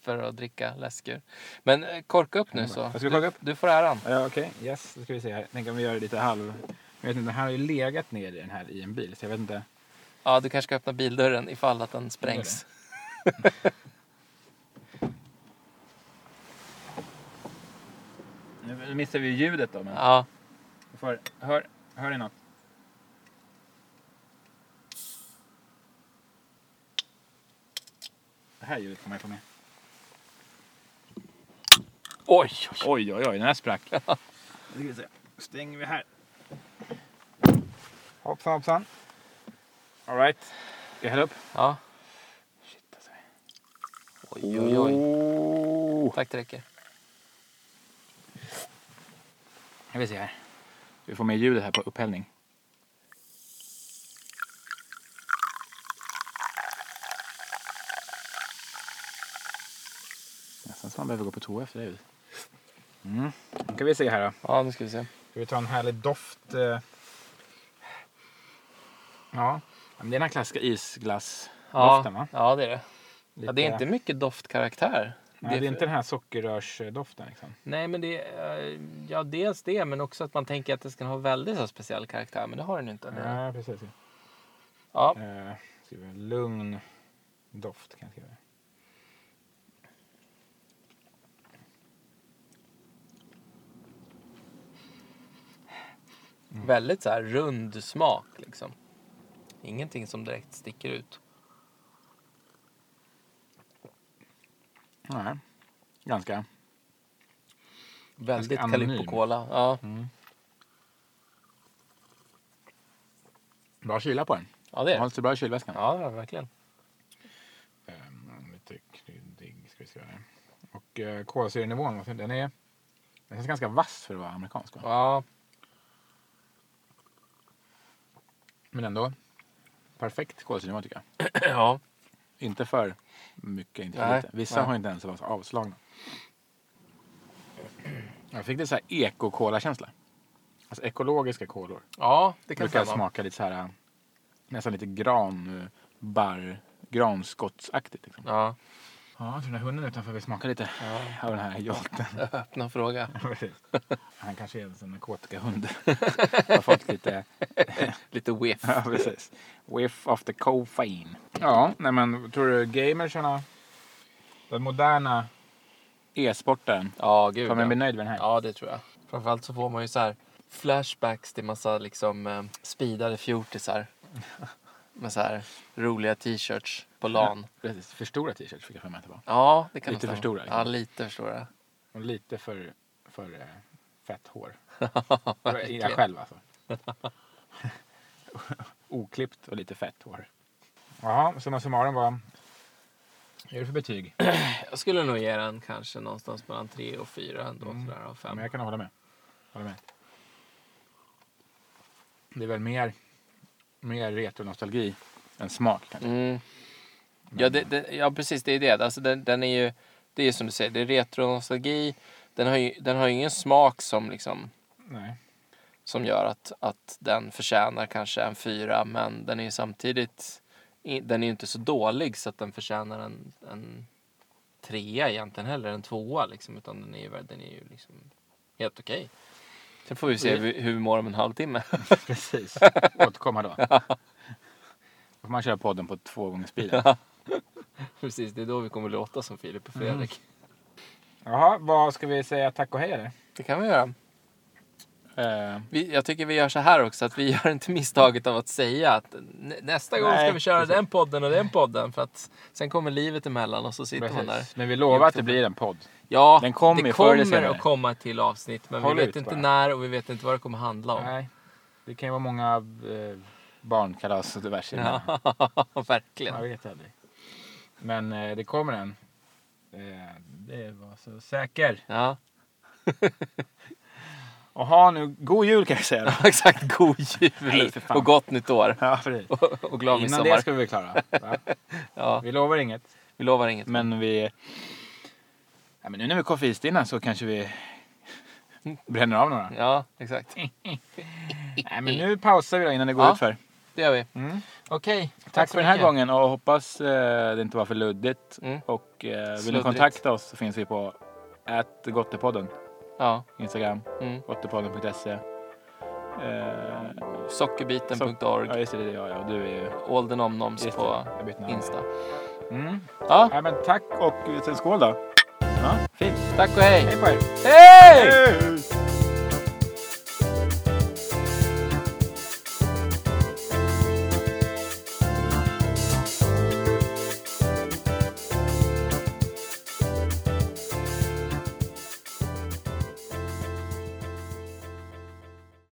S2: för att dricka läskur. Men eh, korka upp nu så.
S1: Jag Mm. ska korka
S2: Du,
S1: upp.
S2: du får äran.
S1: Ja, Okej, yes. Då ska vi se här. Tänk om vi gör det lite halv... Jag vet inte, den här har ju legat ner i den här i en bil. Så jag vet inte.
S2: Ja, du kanske ska öppna bildörren ifall att den sprängs.
S1: Nu missar vi ju ljudet då. Men
S2: Ja,
S1: vi får, hör, hör ni något? Det här ljudet kommer jag få med.
S2: oj, oj.
S1: Oj, oj, oj. Den här sprack.
S2: [LAUGHS]
S1: Nu ska vi se. Stänger vi här. Hoppsan, hoppsan. All right. Ska jag hälla upp?
S2: Ja.
S1: Shit, alltså.
S2: Oj, oj, oj.
S1: Oh.
S2: Tack, det räcker.
S1: Jag vill se här. Vi får med ljudet här på upphällning. Nästan så man behöver gå på toa efter det ljudet. Mm. Nu kan vi se här då.
S2: Ja, nu ska vi se.
S1: Ska vi ta en härlig doft? eh? Ja. ja, men det är den här klassiska isglassdoften
S2: Ja,
S1: va?
S2: ja det är det.
S1: Lite,
S2: Ja, det är inte mycket doftkaraktär.
S1: Nej, det är
S2: för-
S1: inte den här sockerrörsdoften liksom.
S2: Nej, men det eh, Ja, dels det, men också att man tänker att det ska ha väldigt så här speciell karaktär. Men det har den ju inte. Det-
S1: Nej, precis.
S2: Ja,
S1: Eh, ska vi ha en lugn doft kan jag skriva. Mm.
S2: väldigt så här rund smak liksom. Ingenting som direkt sticker ut.
S1: Nej, ganska.
S2: Väldigt
S1: anonym.
S2: Calippo Cola. Ja.
S1: Bra kyla på den.
S2: ja, det är
S1: Den
S2: det.
S1: hålls ju bra i kylväskan.
S2: Ja, verkligen.
S1: Ehm, lite kryddig ska vi skriva här. Och eh, kolsyrenivån, vad fin- den är... Den känns ganska vass för att vara amerikansk. va?
S2: Ja, [CLEARS THROAT]
S1: Men ändå perfekt kolsyrenivå tycker jag.
S2: ja.
S1: Inte för mycket, inte för
S2: Nej,
S1: lite. Vissa
S2: nej.
S1: har inte ens varit avslagna. Jag fick lite så här ekokola-känsla. Alltså ekologiska kolor.
S2: ja det kan
S1: brukar
S2: stämma.
S1: smaka lite så här eh, nästan lite gran, eh, barr, granskottsaktigt. Liksom.
S2: Ja,
S1: Ja, så den där hunden utanför vill smaka lite av den här jolten.
S2: öppna fråga. [LAUGHS]
S1: Precis. Han kanske är en sån narkotikahund. [LAUGHS] Har fått lite...
S2: Lite whiff.
S1: Ja, precis. Whiff of the cocaine. Ja, nej men tror du gamersarna, den moderna e-sporten,
S2: Ja, gud
S1: kommer
S2: ja.
S1: bli nöjd med den här?
S2: Ja, det tror jag. Framförallt så får man ju så här flashbacks till massa liksom eh, speedade fjortisar. Med så här roliga t-shirts på LAN.
S1: Precis. För stora t-shirts fick jag för mig att det var.
S2: Ja, det kan
S1: Lite
S2: nog
S1: för
S2: stämma.
S1: stora, liksom.
S2: Ja, lite för stora.
S1: Och lite för, för eh, fett
S2: [LAUGHS]
S1: hår. jag själv alltså. [LAUGHS] Oklippt och lite fett hår. Jaha, summa summarum vad är det för betyg?
S2: Jag skulle nog ge den kanske någonstans mellan tre och fyra ändå.
S1: Mm.
S2: Sådär, av
S1: Ja,
S2: fem.
S1: men jag kan hålla med. hålla med. Det är väl mer, mer retro-nostalgi än smak kanske.
S2: Mm. Ja, det, det, ja, precis. Det är det. Alltså, den, den är ju, det är ju som du säger, det är retronostalgi. Den har ju den har ju ingen smak som, liksom,
S1: Nej.
S2: som gör att, att den förtjänar kanske en fyra. Men den är ju samtidigt i- den är ju inte så dålig så att den förtjänar en, en trea egentligen heller, en tvåa. Liksom, utan den är ju, den är ju liksom helt okej. Sen får vi se hur, hur vi mår om en halvtimme.
S1: [LAUGHS] Precis. Återkomma
S2: [LAUGHS]
S1: då. Då får man köra podden på två gånger speeden.
S2: precis, det är då vi kommer låta som Filip och
S1: Mm.
S2: Fredrik.
S1: Jaha, vad ska vi säga tack och hej eller?
S2: Det kan vi göra.
S1: Eh,
S2: Vi, jag tycker vi gör så här också, att vi gör inte misstaget av att säga att nä- nästa gång
S1: Nej,
S2: ska vi köra
S1: precis.
S2: den podden och den podden. För att sen kommer livet emellan och så sitter man där.
S1: precis. Men vi lovar att det blir en podd.
S2: Ja,
S1: Den kommer
S2: det
S1: ju förr eller
S2: kommer
S1: senare.
S2: att komma ett till avsnitt. Men
S1: Håll
S2: vi vet
S1: ut
S2: inte
S1: bara.
S2: när och vi vet inte vad det kommer handla om.
S1: Nej. Det kan ju vara många eh, barnkalas och diverse. emellan.
S2: [LAUGHS] Ja,
S1: Jag
S2: verkligen.
S1: vet aldrig. Men eh, det kommer en. Eh, det var så säker.
S2: Ja, [LAUGHS]
S1: Jaha, nu god jul kan jag säga då.
S2: exakt. God jul
S1: Nej, för fan.
S2: och gott nytt år.
S1: [LAUGHS] Ja, precis.
S2: Och, och glad
S1: Innan
S2: midsommar.
S1: det ska vi bli klara. Va?
S2: Ja,
S1: Vi lovar inget.
S2: vi lovar inget.
S1: Men vi... Ja, men nu när vi är koffeistinna så kanske
S2: [LAUGHS]
S1: vi bränner av några. Mm.
S2: Ja, exakt.
S1: Nej, men nu pausar vi då innan det går
S2: Ja.
S1: utför.
S2: Det gör vi.
S1: Mm.
S2: Okej.
S1: Tack,
S2: så
S1: för den här
S2: mycket.
S1: gången och hoppas eh, det inte var för luddigt.
S2: Mm.
S1: Och eh, vill ni
S2: Sluddrigt.
S1: kontakta oss så finns vi på gottepodden.
S2: Ja.
S1: Instagram,
S2: Mm.
S1: gottepodden.se. Eh, ja,
S2: Sockerbiten.org.
S1: just det, det är jag. Ja. Du är ju...
S2: All the nomnoms
S1: Just det,
S2: på
S1: jag bytte namn.
S2: Insta.
S1: Mm.
S2: Ja,
S1: Ja, eh, men tack och sen skål då. Ja, fint.
S2: tack och hej.
S1: Hej på er.
S2: Hej!
S1: Hej!